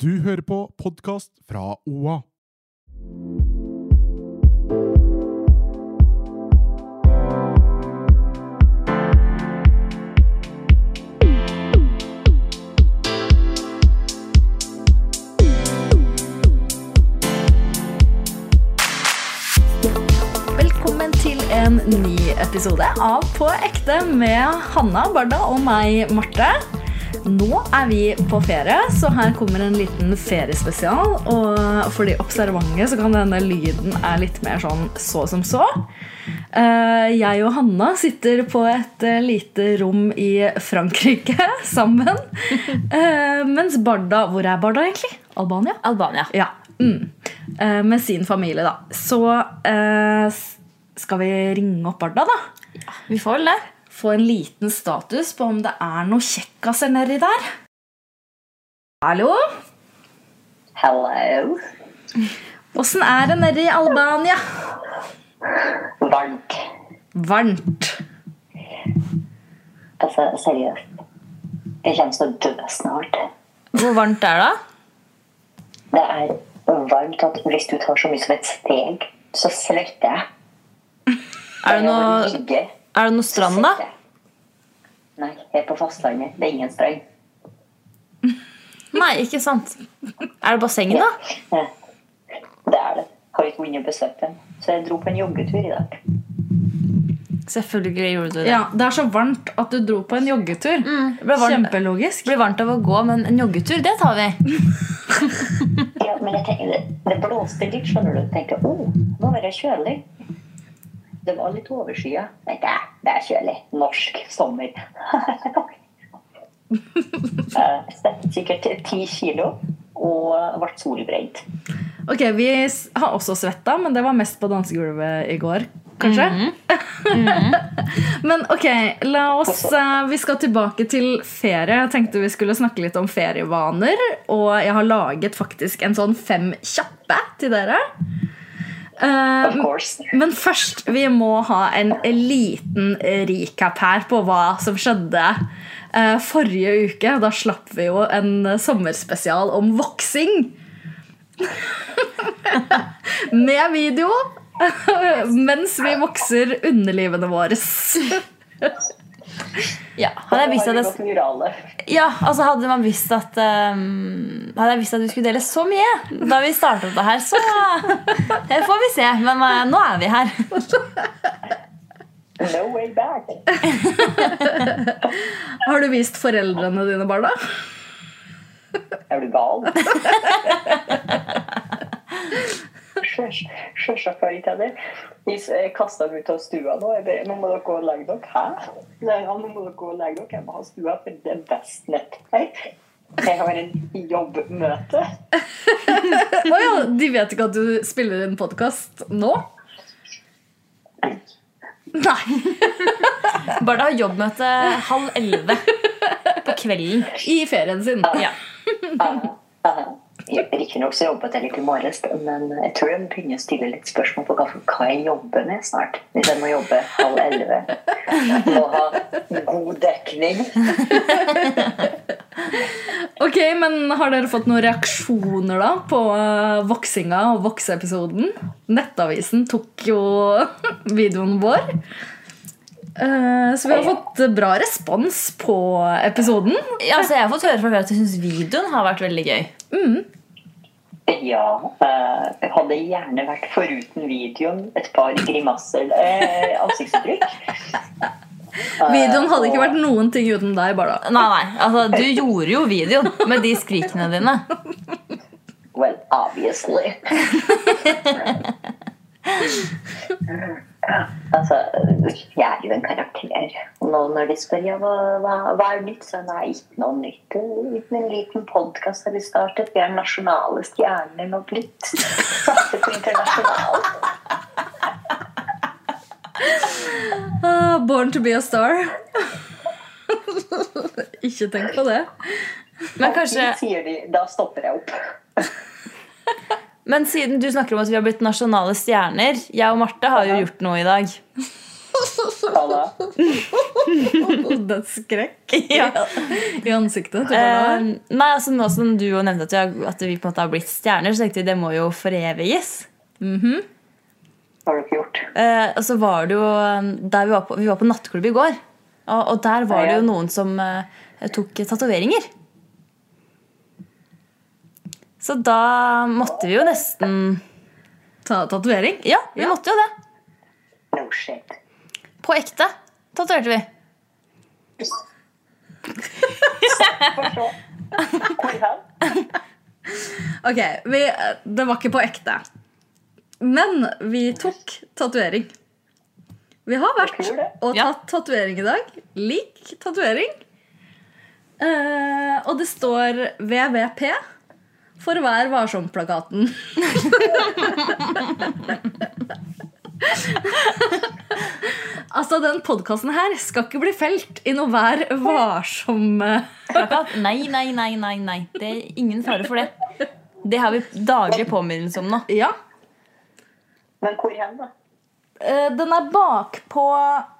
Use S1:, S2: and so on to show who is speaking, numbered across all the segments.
S1: Du hører på podkast fra OA.
S2: Velkommen til en ny episode av På ekte med Hanna Barda og meg, Marte. Nå er vi på ferie, så her kommer en liten feriespesial. Og for de observante så kan denne lyden er litt mer sånn så som så. Eh, Jeg og Hanna sitter på et eh, lite rom i Frankrike sammen. Eh, Mens Barda Hvor er Barda, egentlig? Albania?
S3: Albania.
S2: Ja. Mm. Eh, med sin familie, da. Så eh, s- skal vi ringe opp Barda, da?
S3: Vi får vel det.
S2: Få en liten status på om det er noe kjekkaser nedi der. Hallo?
S4: Hello.
S2: Åssen er det nede i Albania?
S4: Varmt.
S2: Varmt.
S4: Altså, seriøst. Jeg kommer til å dø snart.
S3: Hvor varmt er det?
S4: Det er varmt at hvis du tar så mye som et steg, så svetter jeg.
S3: Er det
S4: Når du
S3: noe,
S4: ligger,
S3: er det noe
S4: så
S3: strand, da?
S4: svetter jeg. Nei, jeg er på fastlandet. Det er ingen strand.
S3: Nei, ikke sant. Er det bassenget, da?
S4: Ja. Det er det. Har ikke vunnet besøk den. Så jeg dro på en joggetur i dag.
S3: Selvfølgelig gjorde du det.
S2: Ja, det er så varmt at du dro på en joggetur.
S3: Det blir varmt,
S2: Kjempelogisk.
S3: blir varmt av å gå, men en joggetur, det tar vi.
S4: Ja, men jeg tenker, det, det blåste litt, skjønner du. Jeg tenkte, oh, nå var det kjølig. Det var litt overskyet. Men det, er- det er kjølig. Norsk sommer. Eh, Stekte sikkert ti kilo og ble solbrent.
S2: Ok, Vi s- har også svetta, men det var mest på dansegulvet i går. Kanskje? men ok, la oss eh, Vi skal tilbake til ferie. Jeg tenkte vi skulle snakke litt om ferievaner. Og jeg har laget faktisk en sånn fem kjappe til dere. Eh,
S4: Of course.
S2: men først, vi må ha en liten recap her på hva som skjedde eh, forrige uke. Da slapp vi jo en eh, sommerspesial om voksing. Med video mens vi vokser underlivene våre.
S3: Ja, hadde jeg visst at
S4: det
S3: jeg
S4: var murale.
S3: Ja, altså hadde man visst at ehm, Hadde jeg visst at du skulle dele så mye da vi startet det her, så Det får vi se. Men eh, nå er vi her.
S4: No way back.
S2: Har du vist foreldrene dine, barna?
S4: Er du gal? Sjøs- Sjølsagt har jeg ikke det. Jeg kasta dem ut av stua nå. Jeg bare, nå må dere gå og legge dere. Hæ? Nei, ja, nå må dere gå og legge dere. Jeg må ha stua, for det er best nettverk. Jeg har en jobbmøte.
S2: Å ja, de vet ikke at du spiller inn podkast nå? Nei.
S3: Barda har jobbmøte halv elleve på kvelden.
S2: I ferien sin.
S3: Ja.
S4: Riktignok så jobbet jeg litt i morges, men jeg tror jeg begynner å stille litt spørsmål på hva, hva jeg jobber med snart. Hvis jeg må jobbe halv elleve. Må ha god dekning.
S2: Ok, men Har dere fått noen reaksjoner da på eh, voksinga og vokseepisoden? Nettavisen tok jo videoen vår. Eh, Så vi har fått bra respons på episoden.
S3: Ja, så Altså, jeg har fått høre fra flere at de syns videoen har vært veldig gøy.
S4: Ja. eh, Jeg hadde gjerne vært foruten videoen et par grimasser eh, ansiktsuttrykk. Eh,
S2: Videoen hadde ikke
S4: og-
S2: vært noen ting uten deg. bare da.
S3: Nei, nei, altså du gjorde jo videoen med de skrikene dine.
S4: Well, obviously. Altså, jeg er jo en karakter. Og nå når de spør ja, hva, hva, hva er nytt, så nei, ikke noe nytt. En liten podkast har vi startet. Vi er nasjonale stjerner nå blitt. Satser på internasjonalt.
S2: Ah, born to be a star. Ikke tenk på det.
S3: Men kanskje
S4: Sier de, da stopper jeg opp.
S3: Men siden du snakker om at vi har blitt nasjonale stjerner Jeg og Marte har jo gjort noe i dag.
S4: Ja, da.
S2: Dødsskrekk i ansiktet. til
S3: Eh,
S2: barna.
S3: nei, altså Nå som du jo nevnte at vi, har, at vi på en måte har blitt stjerner, så tenkte vi det må jo foreviges.
S4: Har du ikke gjort?
S3: Eh, og så var det jo eh, der Vi var på, vi var på nattklubb i går, og, og der var det jo noen som eh, tok tatoveringer. Så da måtte vi jo nesten
S2: Ta tatovering.
S3: Ja, vi måtte jo det.
S4: No shit.
S3: På ekte tatoverte vi.
S4: For så. Hvor hen?
S2: Ok, vi, det var ikke på ekte. Men vi tok tatovering. Vi har vært
S4: Jeg tror det.
S2: og
S3: Ja.
S2: tatt tatovering i dag. Lik tatovering. Eh, og det står VVP for Vær varsom-plakaten. altså, den podkasten her skal ikke bli felt i noe Vær varsom.
S3: Plakat? Nei, nei, nei, nei, nei. Det er ingen fare for det. Det har vi daglig påminnelse om nå.
S2: Ja.
S4: Men hvor hen, da?
S2: Eh, den er bakpå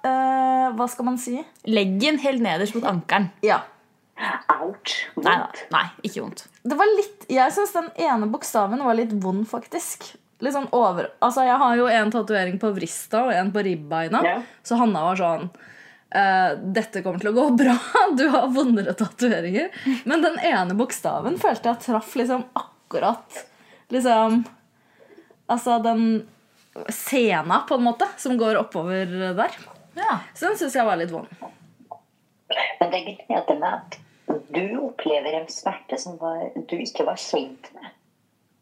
S2: eh, Hva skal man si?
S3: Leggen helt nederst mot ankelen.
S2: Ja.
S4: Ouch.
S3: Nei, nei, nei, ikke vondt.
S2: Det var litt, jeg syns den ene bokstaven var litt vond, faktisk. Litt sånn over, altså Jeg har jo en tatovering på vrista og en på ribbeina.
S4: Ja.
S2: Så Hanna var sånn eh, Dette kommer til å gå bra. Du har vondere tatoveringer. Men den ene bokstaven følte jeg traff liksom akkurat liksom, Altså den sena, på en måte, som går oppover der.
S3: Ja.
S2: Så den syns jeg var litt vond.
S4: Men det gleder meg at du opplever en smerte som var, du ikke var kjent med.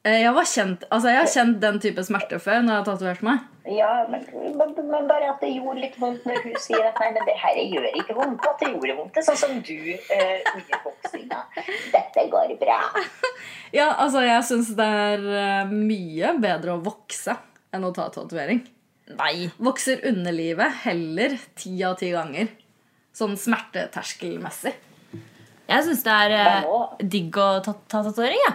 S2: Eh, Jeg, var kjent, altså jeg har kjent den type smerte før når jeg har tatovert meg.
S4: Ja, men, men, men bare at det gjorde litt vondt når hun sier at nei, men det her gjør ikke vondt. At det gjorde vondt. Det er sånn som du eh, under boksinga. Dette går bra.
S2: Ja, altså jeg syns det er eh, mye bedre å vokse enn å ta tatovering.
S3: Nei.
S2: Vokser underlivet heller ti av ti ganger. Sånn smerteterskelmessig.
S3: Jeg syns det er eh, digg å ta ta tatovering. Ja.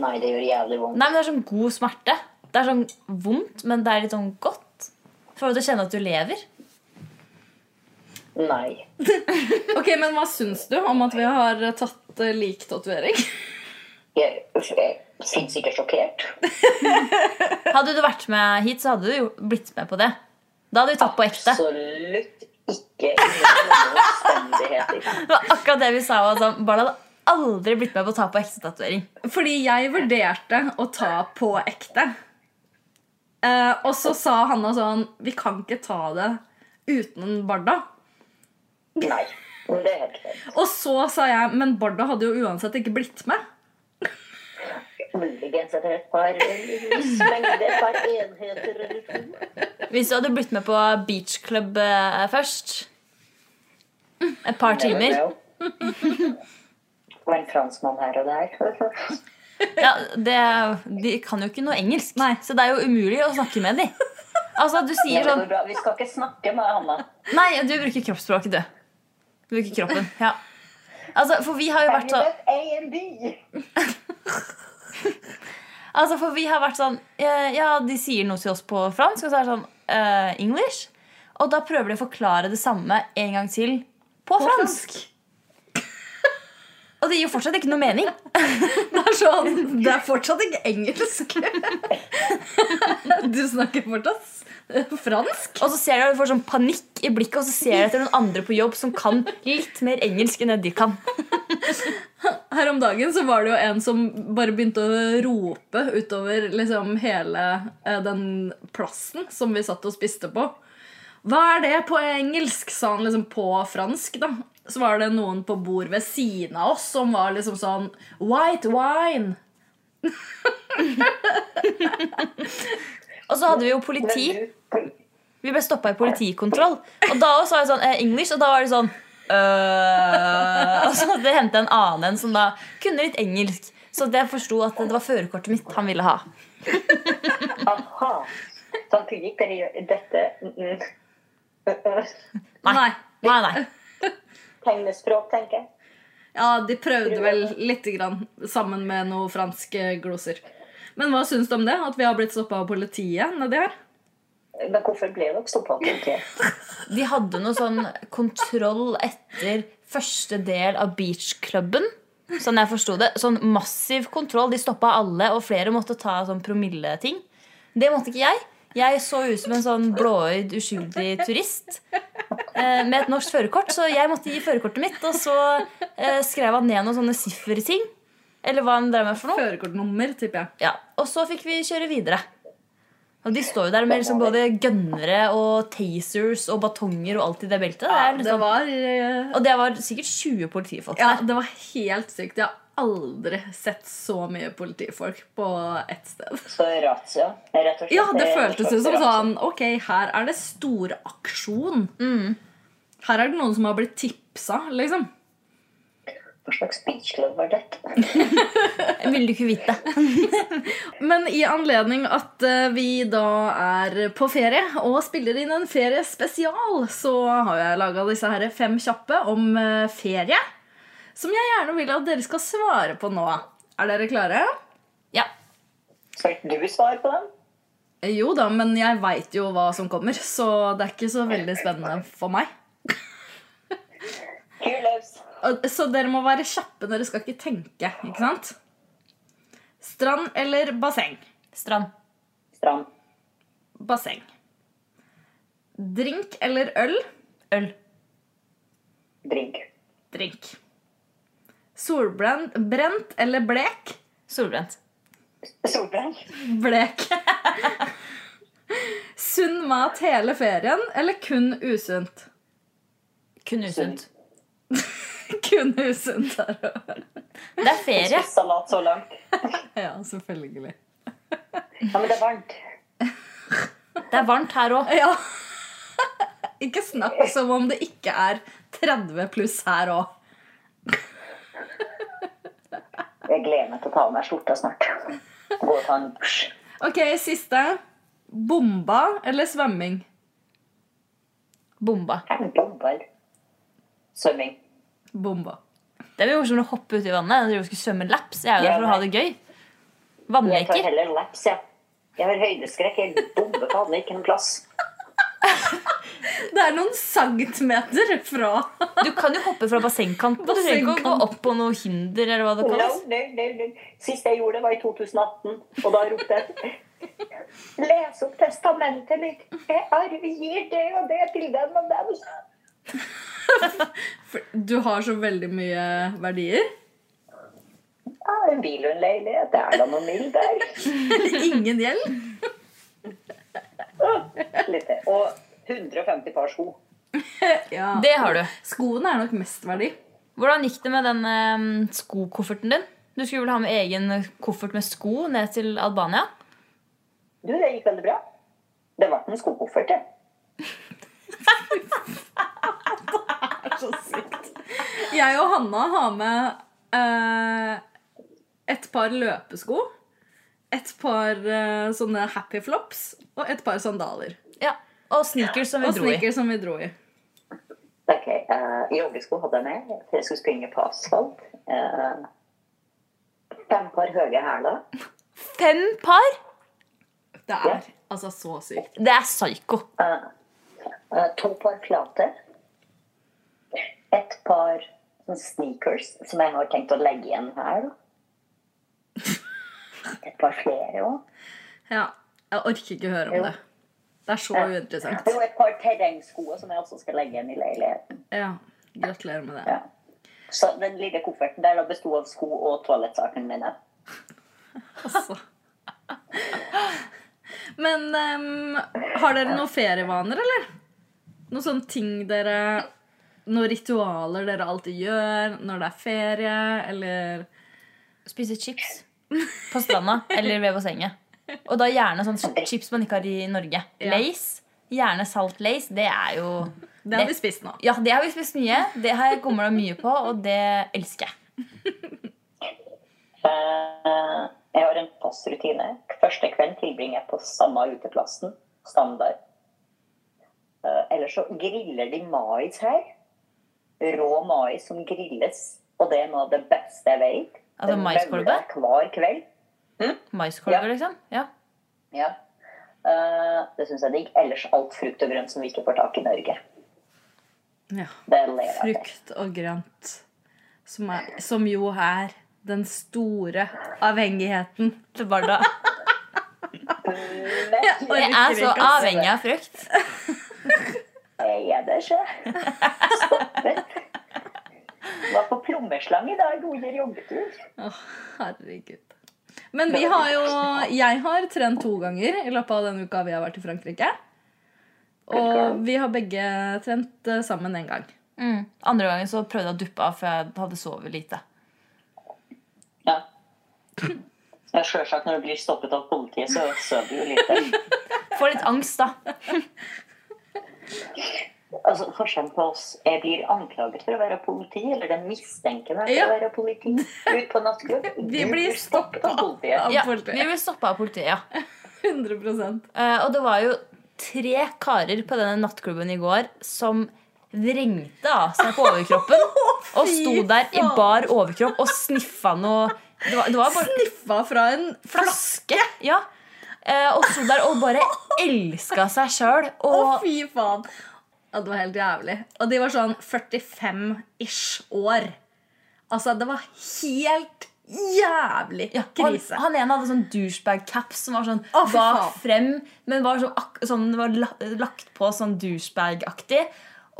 S4: Nei, det gjør jævlig vondt.
S3: Nei, men Det er sånn god smerte. Det er sånn vondt, men det er litt sånn godt. For å kjenne at du lever.
S4: Nei.
S2: Ok, Men hva syns du om at vi har eh, tatt eh, lik tatovering?
S4: Jeg uff, jeg er sinnssykt sjokkert.
S3: Hadde du vært med hit, så hadde du jo blitt med på det. Da hadde vi tatt på ekte.
S4: Absolutt ikke under noen omstendigheter.
S3: Det var akkurat det vi sa. Altså. Barna hadde aldri blitt med på å ta på ekte tatovering.
S2: Fordi jeg vurderte å ta på ekte. Eh, og så sa Hanna sånn Vi kan ikke ta det uten Barda.
S4: Nei. Det er helt klart.
S2: Og så sa jeg Men Barda hadde jo uansett ikke blitt med.
S4: Muligens etter et par smengder, et par enheter eller to.
S3: Hvis du hadde blitt med på beach club eh, først et par timer
S4: Det var en franskmann her og der.
S3: ja, det, De kan jo ikke noe engelsk, så det er jo umulig å snakke med dem. Altså, du sier
S4: Ja,
S3: sånn
S4: men bra. Vi skal ikke snakke med Hanna.
S3: Nei, du bruker kroppsspråket, du. Du bruker kroppen. Ja. Altså, for vi har jo vært sånn
S4: A and B.
S3: Altså, for vi har vært sånn eh, Ja, de sier noe til oss på fransk, og så er det sånn eh, English. Og da prøver de å forklare det samme en gang til på, fransk. og det gir jo fortsatt ikke noe mening.
S2: Det er sånn, det er fortsatt ikke engelsk. Du snakker fortsatt eh, fransk.
S3: Og så ser jeg at du får sånn panikk i blikket, og så ser jeg etter noen andre på jobb som kan litt mer engelsk enn det de kan.
S2: Her om dagen så var det jo en som bare begynte å rope utover liksom hele eh, den plassen som vi satt og spiste på. Hva er det på engelsk? sa han liksom på fransk, da. Så var det noen på bord ved siden av oss som var liksom sånn White wine!
S3: Og så hadde vi jo politi.
S4: Men du,
S3: Vi ble stoppa i politikontroll. Og da også var jeg sånn eh, English, og da var det sånn øh, Og så måtte jeg hente en annen en som da kunne litt engelsk. Så jeg forsto at det var førerkortet mitt han ville ha.
S4: Aha. Sånn Samtidig dere gjør dette mm, mm.
S3: Nei. Nei, nei.
S4: Tegnespråk, tenker jeg.
S2: Ja, de prøvde vel lite grann sammen med noen franske gloser. Men hva syns du om det? At vi har blitt stoppa av politiet nedi her?
S4: Men hvorfor ble dere stoppa av politiet?
S3: De hadde noe sånn kontroll etter første del av beachklubben. Sånn jeg forsto det. Sånn massiv kontroll. De stoppa alle, og flere måtte ta sånn promilleting. Det måtte ikke jeg. Jeg så ut som en sånn blåøyd, uskyldig turist eh, med et norsk førerkort, så jeg måtte gi førerkortet mitt. Og så eh, skrev han ned noen sånne sifferting. Eller hva han drev med for noe.
S2: Førerkortnummer, tipper jeg.
S3: Ja, Og så fikk vi kjøre videre. Og de står jo der med liksom både gønnere og tasers og batonger og alt i det beltet. Det er
S2: Det
S3: liksom,
S2: var, eh,
S3: og det var sikkert 20 politifolk
S2: ja,
S3: der.
S2: det var helt sykt. Jeg har aldri sett så mye politifolk på ett sted.
S4: Så razzia, rett og slett.
S2: Ja, det
S4: er rett og
S2: føltes
S4: slett
S2: jo som
S4: razzia.
S2: sånn Ok, her er det stor aksjon.
S3: Mm.
S2: Her er det noen som har blitt tipsa, liksom.
S4: Hva slags beachclub var dette?
S3: Jeg ville ikke vite det.
S2: Men i anledning at eh, vi da er på ferie og spiller inn en feriespesial, så har jeg laga disse her fem kjappe om eh, ferie. Som jeg gjerne vil at dere skal svare på nå. Er dere klare?
S3: Ja.
S4: Skal ikke du svare på den?
S2: Eh, Jo da, men jeg veit jo hva som kommer, så det er ikke så veldig spennende for meg.
S4: Fyr løs.
S2: Og- Så dere må være kjappe, dere skal ikke tenke, ikke sant? Strand eller basseng?
S3: Strand.
S4: Strand.
S2: Basseng. Drink eller øl?
S3: Øl.
S4: Drink.
S2: drink. Solbrent brent eller blek?
S3: Solbrent.
S4: Solbrand.
S2: Blek. Sunn mat hele ferien eller kun usunt?
S3: Kun usunt.
S2: Kun usunt der òg.
S3: Det er ferie.
S4: Salat så langt.
S2: Ja, selvfølgelig.
S4: Ja, men det er varmt.
S3: Det er varmt her òg.
S2: Ja. Ikke snakk som om det ikke er 30 pluss her òg.
S4: Jeg gleder meg til å ta av meg skjorta snart. Gå og ta en dusj.
S2: Ok, siste. Bomba eller svømming?
S3: Bomba.
S4: Er det bomber? Svømming.
S2: Bomba.
S3: Det er jo morsomt å hoppe uti vannet. Jeg driver og skulle svømme laps. Jeg er jo der for å ha det gøy.
S4: Jeg tar
S3: Vannleker.
S4: heller laps, jeg. Jeg har høydeskrekk. Jeg bomber faen ikke noen plass.
S2: Det er noen centimeter fra
S3: Du kan jo hoppe fra bassengkanten. Du trenger ikke å gå opp på noe hinder eller hva det
S4: No,
S3: kalles.
S4: no, no, no. Sist jeg gjorde det, var i 2018, og da ropte jeg Les opp testamentet mitt. Jeg arv gir det og det til den og den.
S2: Du har så veldig mye verdier.
S4: Ja, en bil og en leilighet. Det er da noe mild der.
S2: Ingen gjeld.
S4: Litt til. Og 150 par sko.
S2: Ja.
S3: Det har du.
S2: Skoene er nok mest verdi.
S3: Hvordan gikk det med den eh, skokofferten din? Du skulle vel ha med egen koffert med sko ned til Albania?
S4: Du, det gikk veldig bra. Det ble en skokoffert, det.
S2: Jeg og Hanna har med eh, et par løpesko, et par eh, sånne happy flops og et par sandaler.
S3: Ja. Og sneakers som vi
S2: Og
S3: dro i.
S2: sneakers som vi dro i.
S4: Ok, eh, Joggesko hadde jeg med, for jeg skulle springe på asfalt. Eh, fem par høye hæler.
S3: Fem par?
S2: Det er altså så sykt.
S3: Det er psyko.
S4: Eh, to par flate. Et par sånn sneakers, som jeg har tenkt å legge igjen her. da. Et par flere òg.
S2: Ja, Jeg orker ikke høre om det. Det er så uinteressant.
S4: Og et par terrengsko som jeg også skal legge igjen i leiligheten.
S2: Ja, Gratulerer med det.
S4: Ja. Så den lille kofferten der da besto av sko og toalettsakene mine.
S2: Altså. Men em, har dere noen ferievaner, eller? Noen sånne ting dere Noen ritualer dere alltid gjør når det er ferie, eller
S3: Spise chips på stranda eller ved bassenget. Og da gjerne sånn chips man ikke har i Norge. Lace. Gjerne salt lace. Det er jo
S2: Det har vi spist nå.
S3: Ja, det har vi spist mye. Det har jeg gomla mye på, og det elsker jeg.
S4: Eh, Jeg har en fast rutine. Første kveld tilbringer jeg på samme uteplassen. Standard. Eh, Ellers så griller de mais her. Rå mais som grilles. Og det er noe av det beste jeg vet.
S3: Altså
S4: Den
S3: maiskolbe?
S4: mauler jeg Hver kveld.
S3: Maiskolber,
S4: Ja.
S3: liksom. Ja.
S4: Ja. Eh, det syns jeg er digg. Ellers alt frukt og grønt som vi ikke får tak i i Norge.
S2: Ja.
S4: Det ler jeg til.
S2: Frukt og grønt. Som, er, som jo er den store avhengigheten.
S3: Til barna.
S4: Men
S3: Jeg er så avhengig av frukt.
S4: jeg er det ikke. Stopper. Var på plommeslang i dag under joggetur.
S2: Herregud. Men vi har jo Jeg har trent to ganger i løpet av den uka vi har vært i Frankrike. Og vi har begge trent eh, sammen én gang.
S3: Mm. Andre gangen så prøvde jeg å duppe av, for jeg hadde sovet lite.
S4: Ja. Ja, Sjølsagt, når du blir stoppet av politiet, så sover du jo lite.
S3: Får litt angst, da.
S4: Altså, Forskjellen på oss Jeg blir anklaget for å være politi, eller den mistenker meg for
S2: Ja.
S4: å være politi ut på nattklubb.
S2: Vi
S4: Du
S2: blir
S4: stoppet av politiet.
S2: Av
S3: Ja, vi
S2: politiet.
S3: ble stoppa av politiet, ja.
S2: 100
S3: Eh, Og det var jo tre karer på denne nattklubben i går som vrengte av seg på overkroppen og sto der i bar overkropp og sniffa noe Det var, det var bare
S2: Sniffa fra en
S3: flaske. Ja. Eh, Og sto der og bare elska seg sjøl.
S2: Å,
S3: Og
S2: fy faen! Ja, det var helt jævlig. Og de var sånn 45-ish år. Altså, det var helt jævlig
S3: ja, han,
S2: krise.
S3: han ene hadde sånn douchebag-caps som var sånn
S2: Å, fy
S3: bak
S2: faen.
S3: frem, men var sånn, ak sånn det var la lagt på sånn douchebag-aktig.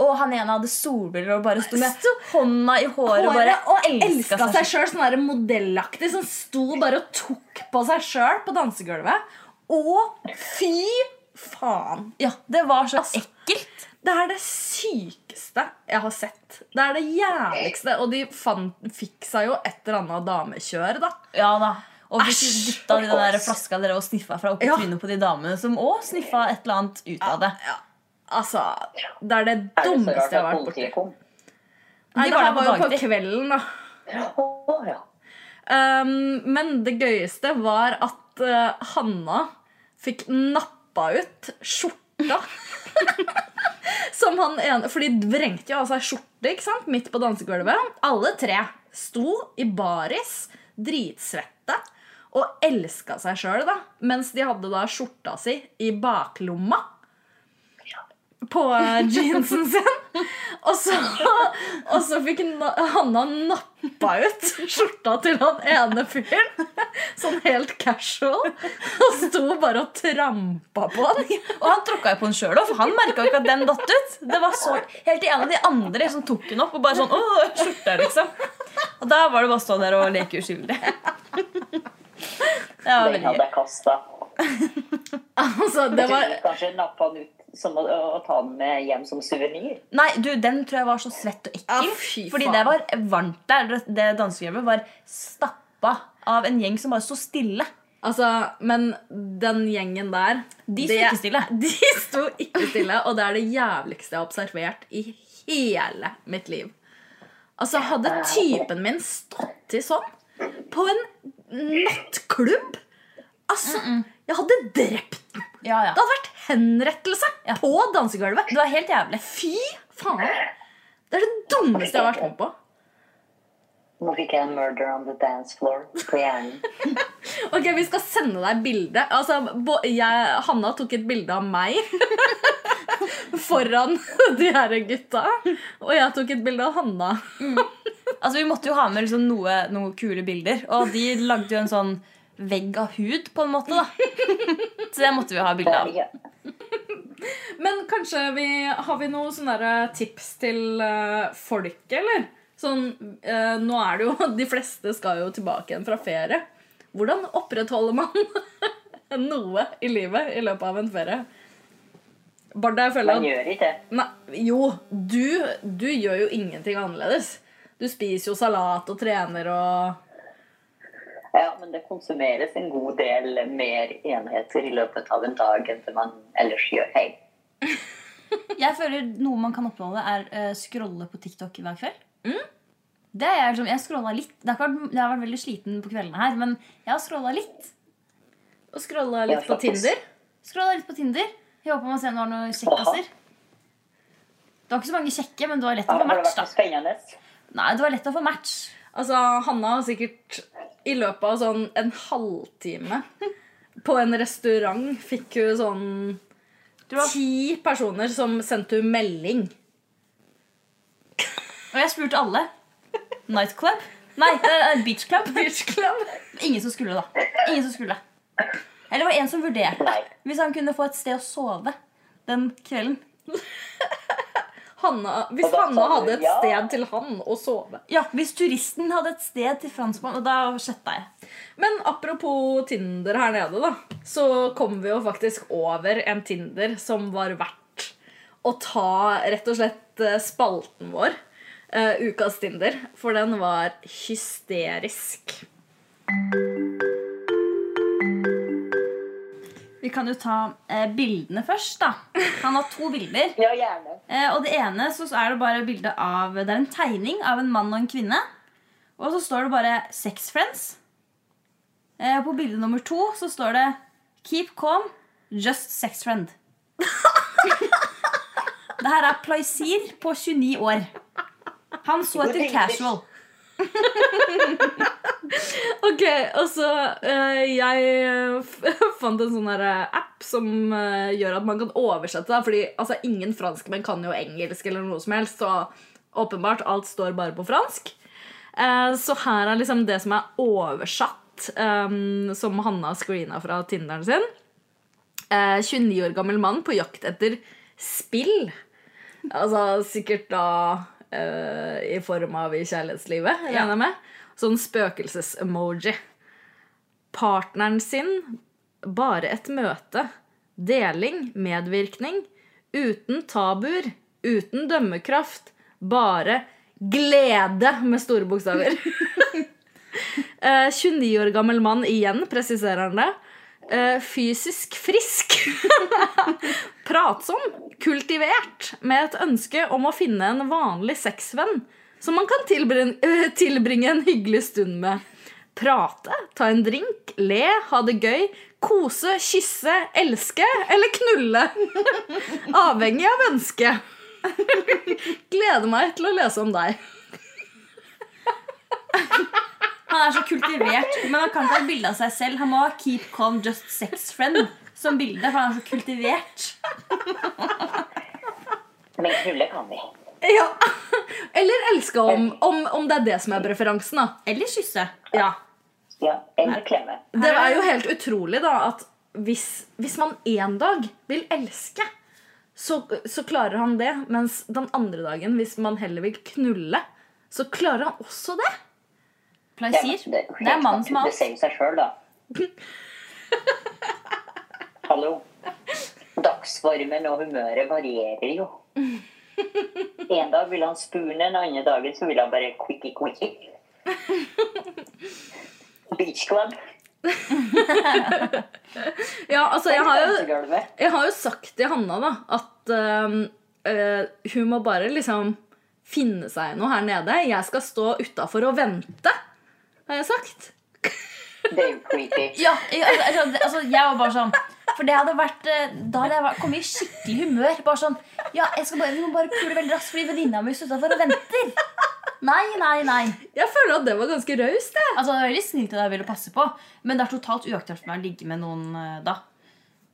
S3: Og han ene hadde solbriller og bare sto med
S2: Sto-
S3: hånda i håret og bare
S2: Håret og
S3: elsket
S2: elska seg sjøl. Sånn der modellaktig. Som sto bare og tok på seg sjøl på dansegulvet. Å, fy faen!
S3: Ja, det var så
S2: Altså.
S3: ekkelt.
S2: Det er det sykeste jeg har sett. Det er det jævligste. Og de fant, fikk seg jo et eller annet damekjør, da.
S3: Ja da. Og hvis du
S2: Æsj,
S3: dytta de
S2: og
S3: der
S2: kos.
S3: flaska dere og sniffa fra oppi
S2: Ja.
S3: trynet på de damene som òg sniffa et eller annet ut av det.
S2: Altså, Det er det
S4: Er det så
S2: dummeste
S4: rart
S2: jeg har
S4: at
S2: vært borti.
S4: politiet kom?
S2: Nei,
S3: De
S2: det
S3: var
S2: her
S3: der
S2: var
S3: på
S2: jo på
S3: dagtid.
S2: kvelden, da.
S4: Å, ja.
S2: Um, men det gøyeste var at eh, Hanna fikk nappa ut skjorta. Som han ene For de vrengte jo av seg skjorte ikke sant? midt på dansegulvet. Alle tre sto i baris, dritsvette, og elska seg sjøl, da. Mens de hadde da skjorta si i baklomma på eh, jeansen sin. Og så, og så fikk na- Hanna nappa ut skjorta til han ene fyren. Sånn helt casual. Og sto bare og trampa på han.
S3: Og han tråkka jo på den sjøl òg, for han merka jo ikke at den datt ut. Det var så, Helt til en av de andre som tok den opp og bare sånn Åh, skjorta, liksom. Og da var det bare å stå der og leke uskyldig. Det
S4: Den
S3: var veldig
S4: hadde
S3: gøy.
S4: jeg kasta.
S2: Altså, det var
S4: Kanskje nappa den ut som å, å ta den med hjem som suvenir.
S3: Nei, du, den tror jeg var så svett og ekkel.
S2: Ja, Ah, fy
S3: fordi
S2: faen.
S3: det var varmt der. Det- Det dansegulvet var stappa av en gjeng som bare sto stille.
S2: Altså, men den gjengen der
S3: De sto
S2: det-
S3: ikke stille.
S2: De sto ikke stille, og det er det jævligste jeg har observert i hele mitt liv. Altså, hadde typen min stått til sånn på en nattklubb Altså, jeg hadde drept den!
S3: Ja, ja.
S2: Det hadde vært henrettelse på dansegulvet.
S3: Det var helt jævlig.
S2: Fy faen! Det er det dummeste jeg har vært med på.
S4: Nå fikk jeg en murder on the dance floor på hjernen.
S2: Ok, Vi skal sende deg bilde. Altså, bo- jeg, Hanna tok et bilde av meg foran de her gutta. Og jeg tok et bilde av Hanna.
S3: Altså, vi måtte jo ha med liksom noe, noen kule bilder, og de lagde jo en sånn vegg av hud, på en måte. da. Så det måtte vi ha bilde av.
S4: Ja.
S2: Men kanskje vi har vi noen sånne der eh, tips til uh, folket, eller? Sånn, eh, nå er det jo De fleste skal jo tilbake igjen fra ferie. Hvordan opprettholder man noe i livet i løpet av en ferie? Barda, jeg føler
S4: Man gjør ikke det.
S2: Nei, jo, du, du gjør jo ingenting annerledes. Du spiser jo salat og trener og
S4: Ja, men det konsumeres en god del mer enheter i løpet av en dag enn det man ellers gjør. Hei.
S3: Jeg føler noe man kan oppnåle, er eh, scrolle på TikTok hver kveld. Det er jeg liksom, jeg scrollet litt. Det har, ikke vært, jeg har vært veldig sliten på kveldene her, men jeg har scrolla litt.
S2: Og scrolla litt på Tinder.
S3: Scrolla litt på Tinder. Jeg håper man ser om det var noen kjekkaser. Det var ikke så mange kjekke, men det var lett å
S4: Har
S3: få
S4: det
S3: match.
S4: vært noe spennende?
S3: da Nei, det var lett å få match.
S2: Altså, Hanna har sikkert i løpet av sånn en halvtime på en restaurant fikk hun sånn ti personer som sendte hun melding.
S3: Og jeg spurte alle. Nightclub? Nei, det er beach club. Ingen som skulle, da. Ingen som skulle. Eller det var en som vurderte hvis han kunne få et sted å sove den kvelden.
S2: Hanna, hvis
S4: da
S2: Hanna
S4: sa du
S2: hadde et
S4: ja.
S2: sted til han å sove.
S3: Ja, Hvis turisten hadde et sted til franskmann, og da sjetta jeg.
S2: Men apropos Tinder her nede, da. Så kom vi jo faktisk over en Tinder som var verdt å ta rett og slett eh, spalten vår. eh, ukas Tinder. For den var hysterisk.
S3: Vi kan jo ta eh, bildene først, da. Han har to bilder.
S4: Ja, gjerne.
S3: Eh, og det ene så så er det bare bilde av Det er en tegning av en mann og en kvinne. Og så står det bare 'Sex Friends'. Eh, på bilde nummer to så står det 'Keep calm, just sex friend'. det her er Plaisir på 29 år. Han så etter casual.
S2: Ok, altså eh, Jeg eh, f- fant en sånn her eh, app som eh, gjør at man kan oversette. Da, fordi altså, ingen franskmenn kan jo engelsk eller noe som helst. Så åpenbart, alt står bare på fransk. Eh, så her er liksom det som er oversatt, eh, som Hanna screena fra Tinderen sin. Eh, 29 år gammel mann på jakt etter spill. Altså sikkert da eh, i form av i kjærlighetslivet, regner jeg med. Sånn spøkelses-emoji. Partneren sin, bare et møte. Deling, medvirkning. Uten tabuer, uten dømmekraft. Bare glede, med store bokstaver. Eh, 29 år gammel mann igjen, presiserer han det. Eh, Fysisk frisk. Pratsom, kultivert, med et ønske om å finne en vanlig sexvenn som man kan tilbringe, tilbringe en hyggelig stund med. Prate, ta en drink, le, ha det gøy, kose, kysse, elske eller knulle. Avhengig av ønsket. Gleder meg til å lese om deg.
S3: Han er så kultivert, men han kan ikke ha bilde av seg selv. Han må ha 'Keep calm, just sex friend' som bilde, for han er så kultivert.
S4: Men knulle kan vi.
S2: Ja. Eller elske om, om, om det er det som er preferansen, da.
S3: Eller kysse.
S2: Ja.
S4: Ja, Eller klemme.
S2: Det er jo helt utrolig da at hvis, hvis man en dag vil elske, så, så klarer han det. Mens den andre dagen, hvis man heller vil knulle, så klarer han også det.
S3: Plaisir.
S4: Ja,
S3: Det er mannen som har
S4: Det sier seg sjøl, da. Hallo. Dagsformen og humøret varierer jo. En dag vil han spoon, en annen dagen så vil han bare quickie quickie. Beach club.
S2: Ja, altså, jeg har jo...
S4: Dansegulvet.
S2: jeg har jo sagt til Hanna da at øhm, øh, hun må bare liksom finne seg noe her nede. Jeg skal stå utafor og vente, har jeg sagt.
S4: Det er jo creepy.
S3: Ja, jeg- altså, altså, det- altså, jeg var bare sånn For det hadde vært eh, Da hadde jeg vært- kommet i skikkelig humør. Bare sånn Ja, jeg skal bare, vi må bare pule veldig raskt fordi venninna mi står utafor og venter. Nei, nei, nei.
S2: Jeg føler at det var ganske raust. jeg.
S3: Altså, Det er veldig snilt av deg å ville passe på, men det er totalt uaktuelt for meg å ligge med noen eh, da.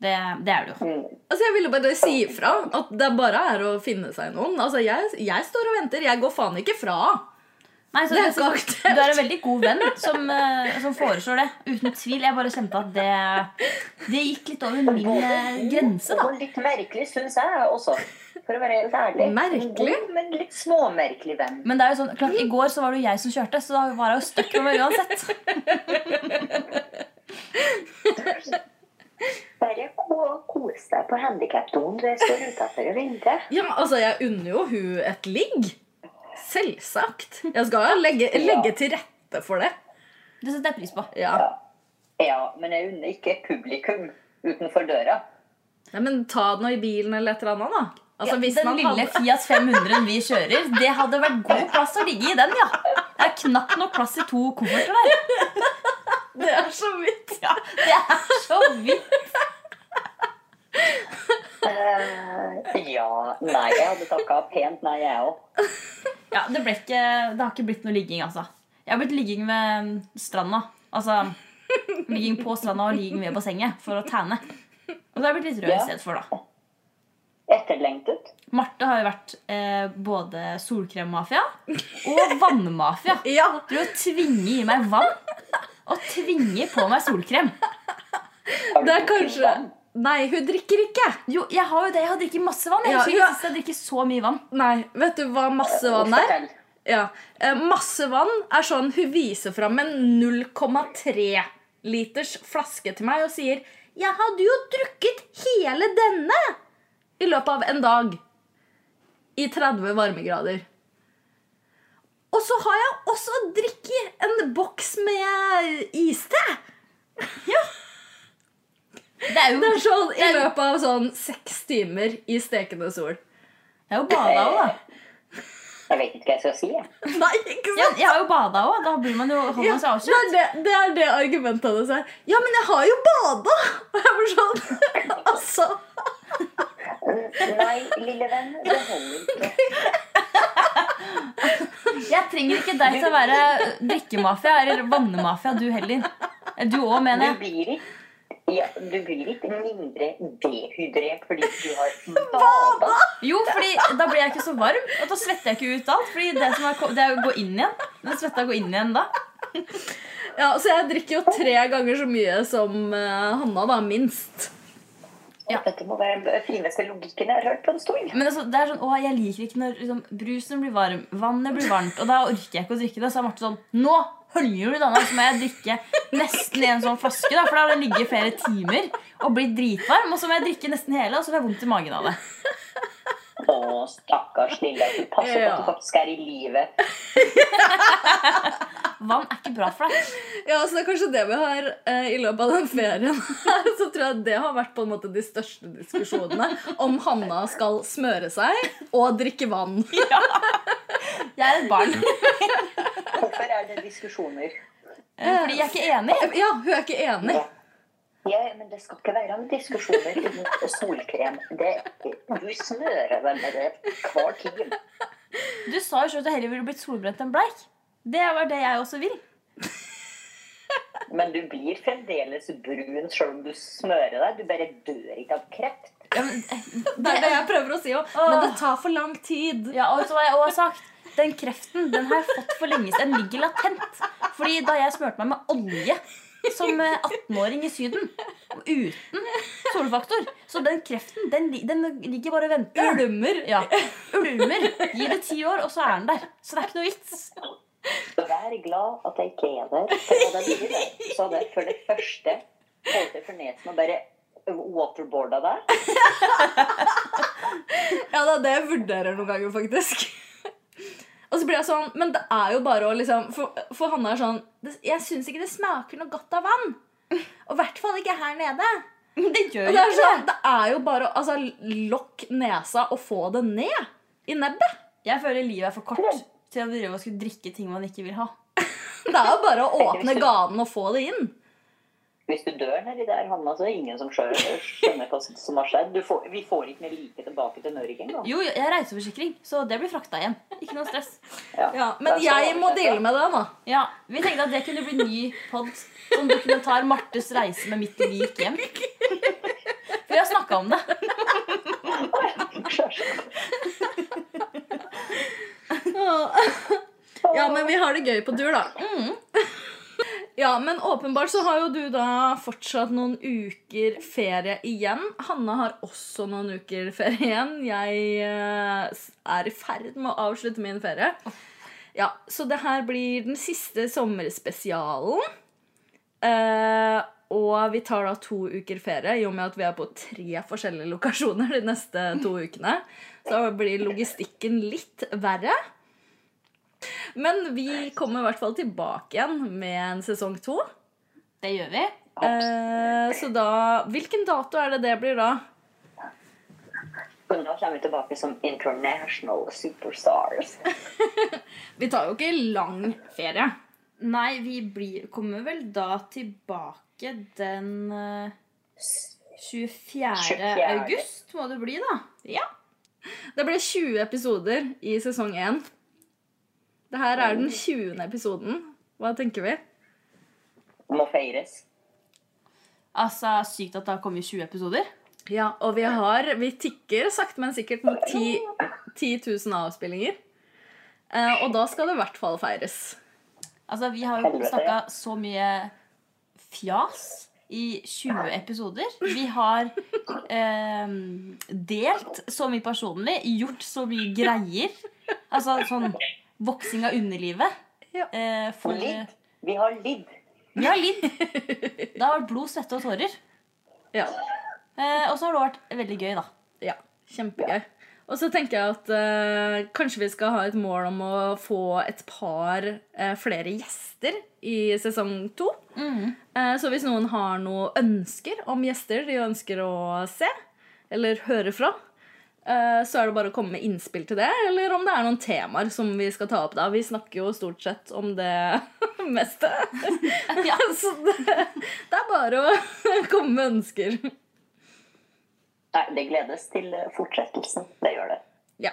S3: Det, det er det jo.
S2: Altså, jeg ville bare si ifra at det bare er å finne seg noen. Altså, jeg, jeg står og venter. Jeg går faen ikke fra.
S3: Nei, så
S2: Det er
S3: du-
S2: ikke aktuelt.
S3: Du er en veldig god venn som, eh, som foreslår det. Uten tvil. Jeg bare kjente at det, det gikk litt over min eh, grense, da.
S4: Og litt merkelig, syns jeg også. For å være helt ærlig.
S2: Merkelig?
S4: En god, Men litt småmerkelig venn.
S3: Men det er jo sånn, klart, i går så var det jo jeg som kjørte, så da var jeg jo stuck med meg uansett.
S4: Bare ko- kos deg på handikapdoen du står utafor og venter.
S2: Ja, altså, jeg unner jo hun et ligg. Selvsagt. Jeg skal jo legge, legge til rette for det.
S3: Det setter jeg pris på.
S2: Ja.
S4: Ja, men jeg unner ikke publikum utenfor døra.
S2: Nei, men ta den nå i bilen eller et eller annet, da. Altså, hvis
S3: den
S2: man
S3: lille
S2: hadde-
S3: Fiat 500-en vi kjører, det hadde vært god plass å ligge i den, ja. Det er knapt nok plass i to kofferter der.
S2: Det er så vidt.
S3: Det er så vidt.
S4: Eh, ja. Nei, jeg hadde takka pent nei, jeg òg.
S3: Ja, det, ble ikke, det har ikke blitt noe ligging, altså. Jeg har blitt ligging ved mm, stranda. Altså ligging på stranda og ligging ved bassenget for å tæne. Og da har jeg blitt litt rød
S4: Ja.
S3: i stedet for, da.
S4: Etterlengtet.
S3: Marte har jo vært eh, både solkremmafia og vannmafia.
S2: Ja,
S3: Du å tvinge i meg vann og tvinge på meg solkrem.
S4: Har du
S2: det er
S4: drukket
S2: kanskje
S4: vann?
S2: Nei, hun drikker ikke.
S3: Jo, jeg har jo det. Jeg har drukket masse vann. Jeg,
S2: Ja,
S3: husker
S2: ja.
S3: ikke sist jeg drikker så mye vann.
S2: Nei, vet du hva masse vann er?
S4: Fortell.
S2: Ja. Eh, masse vann er sånn hun viser fram en 0,3 liters flaske til meg og sier 'Jeg hadde jo drukket hele denne i løpet av en dag i 30 varmegrader'. Og så har jeg også drikket en boks med iste.
S3: Det er jo,
S2: Det er sånn i
S3: Det er-
S2: løpet av sånn seks timer i stekende sol.
S3: jeg har jo bada òg, da.
S4: Jeg vet ikke hva jeg skal si. jeg.
S2: Nei, ikke
S3: Ja, jeg har jo bada òg. Da blir man jo holder man
S2: det,
S3: seg avslørt.
S2: er det, det er det argumentet hans er. Ja, men jeg har jo bada! Og jeg var sånn Altså.
S4: Nei, lille venn, det holder ikke.
S3: Jeg trenger ikke deg til å være drikkemafia eller vannmafia, du heller. Eh, Du òg, mener
S4: Du
S3: jeg.
S4: blir ikke, ja, du blir ikke mindre dehydrert fordi du har bada.
S3: Jo, fordi da blir jeg ikke så varm, og da svetter jeg ikke ut alt. Fordi det som er, ko- det er å gå inn igjen. Den svetta går inn igjen da.
S2: Ja, så jeg drikker jo tre ganger så mye som eh, Hanna, da. Minst.
S4: Dette må være den fineste logikken jeg har hørt på en stund.
S3: Men altså, det er sånn, å, jeg liker ikke når liksom, brusen blir varm, vannet blir varmt, og da orker jeg ikke å drikke det. Så er Marte sånn Nå høljer du denne, så må jeg drikke nesten i en sånn flaske, da, for da har den ligget i flere timer og blitt dritvarm. Og så må jeg drikke nesten hele, og så får jeg vondt i magen av det.
S4: Å, stakkars lille. Du passer på at
S2: Ja.
S4: du faktisk er i live.
S3: Vann er ikke bra for deg.
S2: Ja, så det er kanskje det vi har eh, i løpet av den ferien her. Så tror jeg det har vært på en måte de største diskusjonene. Om Hanna skal smøre seg og drikke vann.
S3: Jeg er et barn.
S4: Hvorfor er det diskusjoner?
S3: eh, Fordi jeg er ikke enig.
S2: Ja, hun er ikke enig.
S4: Ja, men det skal ikke være noen diskusjoner mot solkrem. Det, du smører deg med det hver time.
S3: Du sa jo selv at du heller ville blitt solbrent enn bleik. Det var det jeg også vil.
S4: Men du blir fremdeles brun selv om du smører deg. Du bare dør ikke av kreft.
S3: Ja, men,
S2: Det er det jeg prøver å si òg. Men det tar for lang tid.
S3: Ja, og så har jeg også sagt Den kreften den har jeg fått for lenge siden. Den ligger latent. Fordi da jeg smurte meg med olje som eh, 18-åring i Syden, uten solfaktor Så den kreften den, li- den ligger bare og venter.
S2: Ulmer.
S3: Ja, Ulmer. Gi det ti år, og så er den der. Så det er ikke noe vits.
S4: Vær glad at jeg ikke er der. For hadde jeg vært der, så hadde jeg for det første holdt jeg for nesen og bare waterboarda deg.
S2: Ja, det er det jeg vurderer noen ganger, faktisk. Og så blir jeg sånn Men det er jo bare å liksom For, for Hanna er sånn «Det- Jeg syns ikke det smaker noe godt av vann. Og i hvert fall ikke her nede.
S3: Det gjør
S2: Og det
S3: jo
S2: er,
S3: ikke
S2: sånn, det er jo bare å altså, lokk nesa og få det ned i nebbet.
S3: Jeg føler livet er for kort til å drive og skulle drikke ting man ikke vil ha.
S2: Det er jo bare å åpne ganen og få det inn.
S4: Hvis du dør nedi der, Hanna, så er det ingen som skjø- skjønner hva som har skjedd. Du får, vi får ikke mer like tilbake til Norge engang.
S3: Jo, jo, jeg har reiseforsikring, så det blir frakta igjen. Ikke noe stress.
S2: Ja, men jeg må deale med det, da.
S3: Ja, Vi tenkte at det kunne bli ny pod. Sånn dokumentar 'Martes reise med mitt lik hjem'. For vi har snakka om det.
S2: Ja, men vi har det gøy på tur, da. Mm. Ja, men åpenbart så har jo du da fortsatt noen uker ferie igjen. Hanna har også noen uker ferie igjen. Jeg eh, s- er i ferd med å avslutte min ferie. Ja, Så det her blir den siste sommerspesialen. Eh, og vi tar da to uker ferie, i og med at vi er på tre forskjellige lokasjoner de neste to ukene. Så da blir logistikken litt verre. Men vi kommer i hvert fall tilbake igjen med en sesong to.
S3: Det gjør vi.
S2: Eh, så da Hvilken dato er det det blir da?
S4: Men da kommer vi tilbake som international superstars.
S2: Vi tar jo ikke lang ferie.
S3: Nei, vi blir, kommer vel da tilbake den eh, 24.
S4: 24.
S3: august, må det bli, da.
S2: Det ble 20 episoder i sesong 1. Det her er den 20. episoden. Hva tenker vi?
S4: Må feires.
S3: Altså, Sykt at det har kommet 20 episoder.
S2: Ja, og vi har Vi tikker sakte, men sikkert mot 10, 10 000 avspillinger. Eh, og da skal det i hvert fall feires.
S3: Altså, Vi har jo
S4: Helvete.
S3: snakka så mye fjas i 20 episoder. Vi har eh, delt så mye personlig, gjort så mye greier. Altså sånn voksing av underlivet.
S2: Ja.
S3: Eh, for,
S4: Lidd. Vi har lidd.
S3: vi har lidd. Det har vært blod, svette og tårer.
S2: Ja,
S3: Eh, og så har det vært veldig gøy, da.
S2: ja Kjempegøy. Og så tenker jeg at eh, kanskje vi skal ha et mål om å få et par eh, flere gjester i sesong to. Eh, så hvis noen har noen ønsker om gjester de ønsker å se eller høre fra, eh, så er det bare å komme med innspill til det, eller om det er noen temaer som vi skal ta opp da. Vi snakker jo stort sett om det meste. så det, det er bare å komme med ønsker.
S4: Nei, det gledes til eh, fortsettelsen. Det gjør det.
S2: Ja.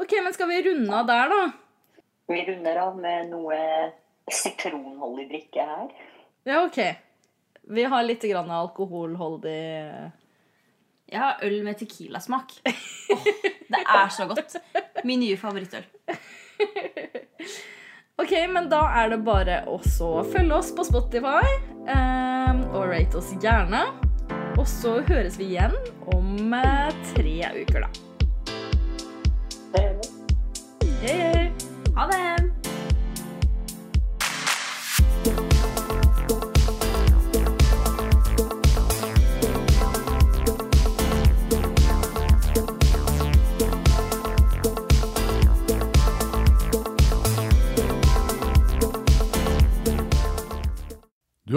S2: Ok, men skal vi runde av der, da?
S4: Vi runder av med noe sitronholdig drikke her.
S2: Ja, ok. Vi har litt grann alkoholholdig
S3: Jeg har øl med tequilasmak. Åh, det er så godt. Min nye favorittøl.
S2: Ok, men da er det bare også å følge oss på Spotify eh, og rate oss gjerne. Og så høres vi igjen om eh, tre uker, da.
S4: Det gjør vi.
S2: Hei, hei!
S3: Ha det!
S1: Du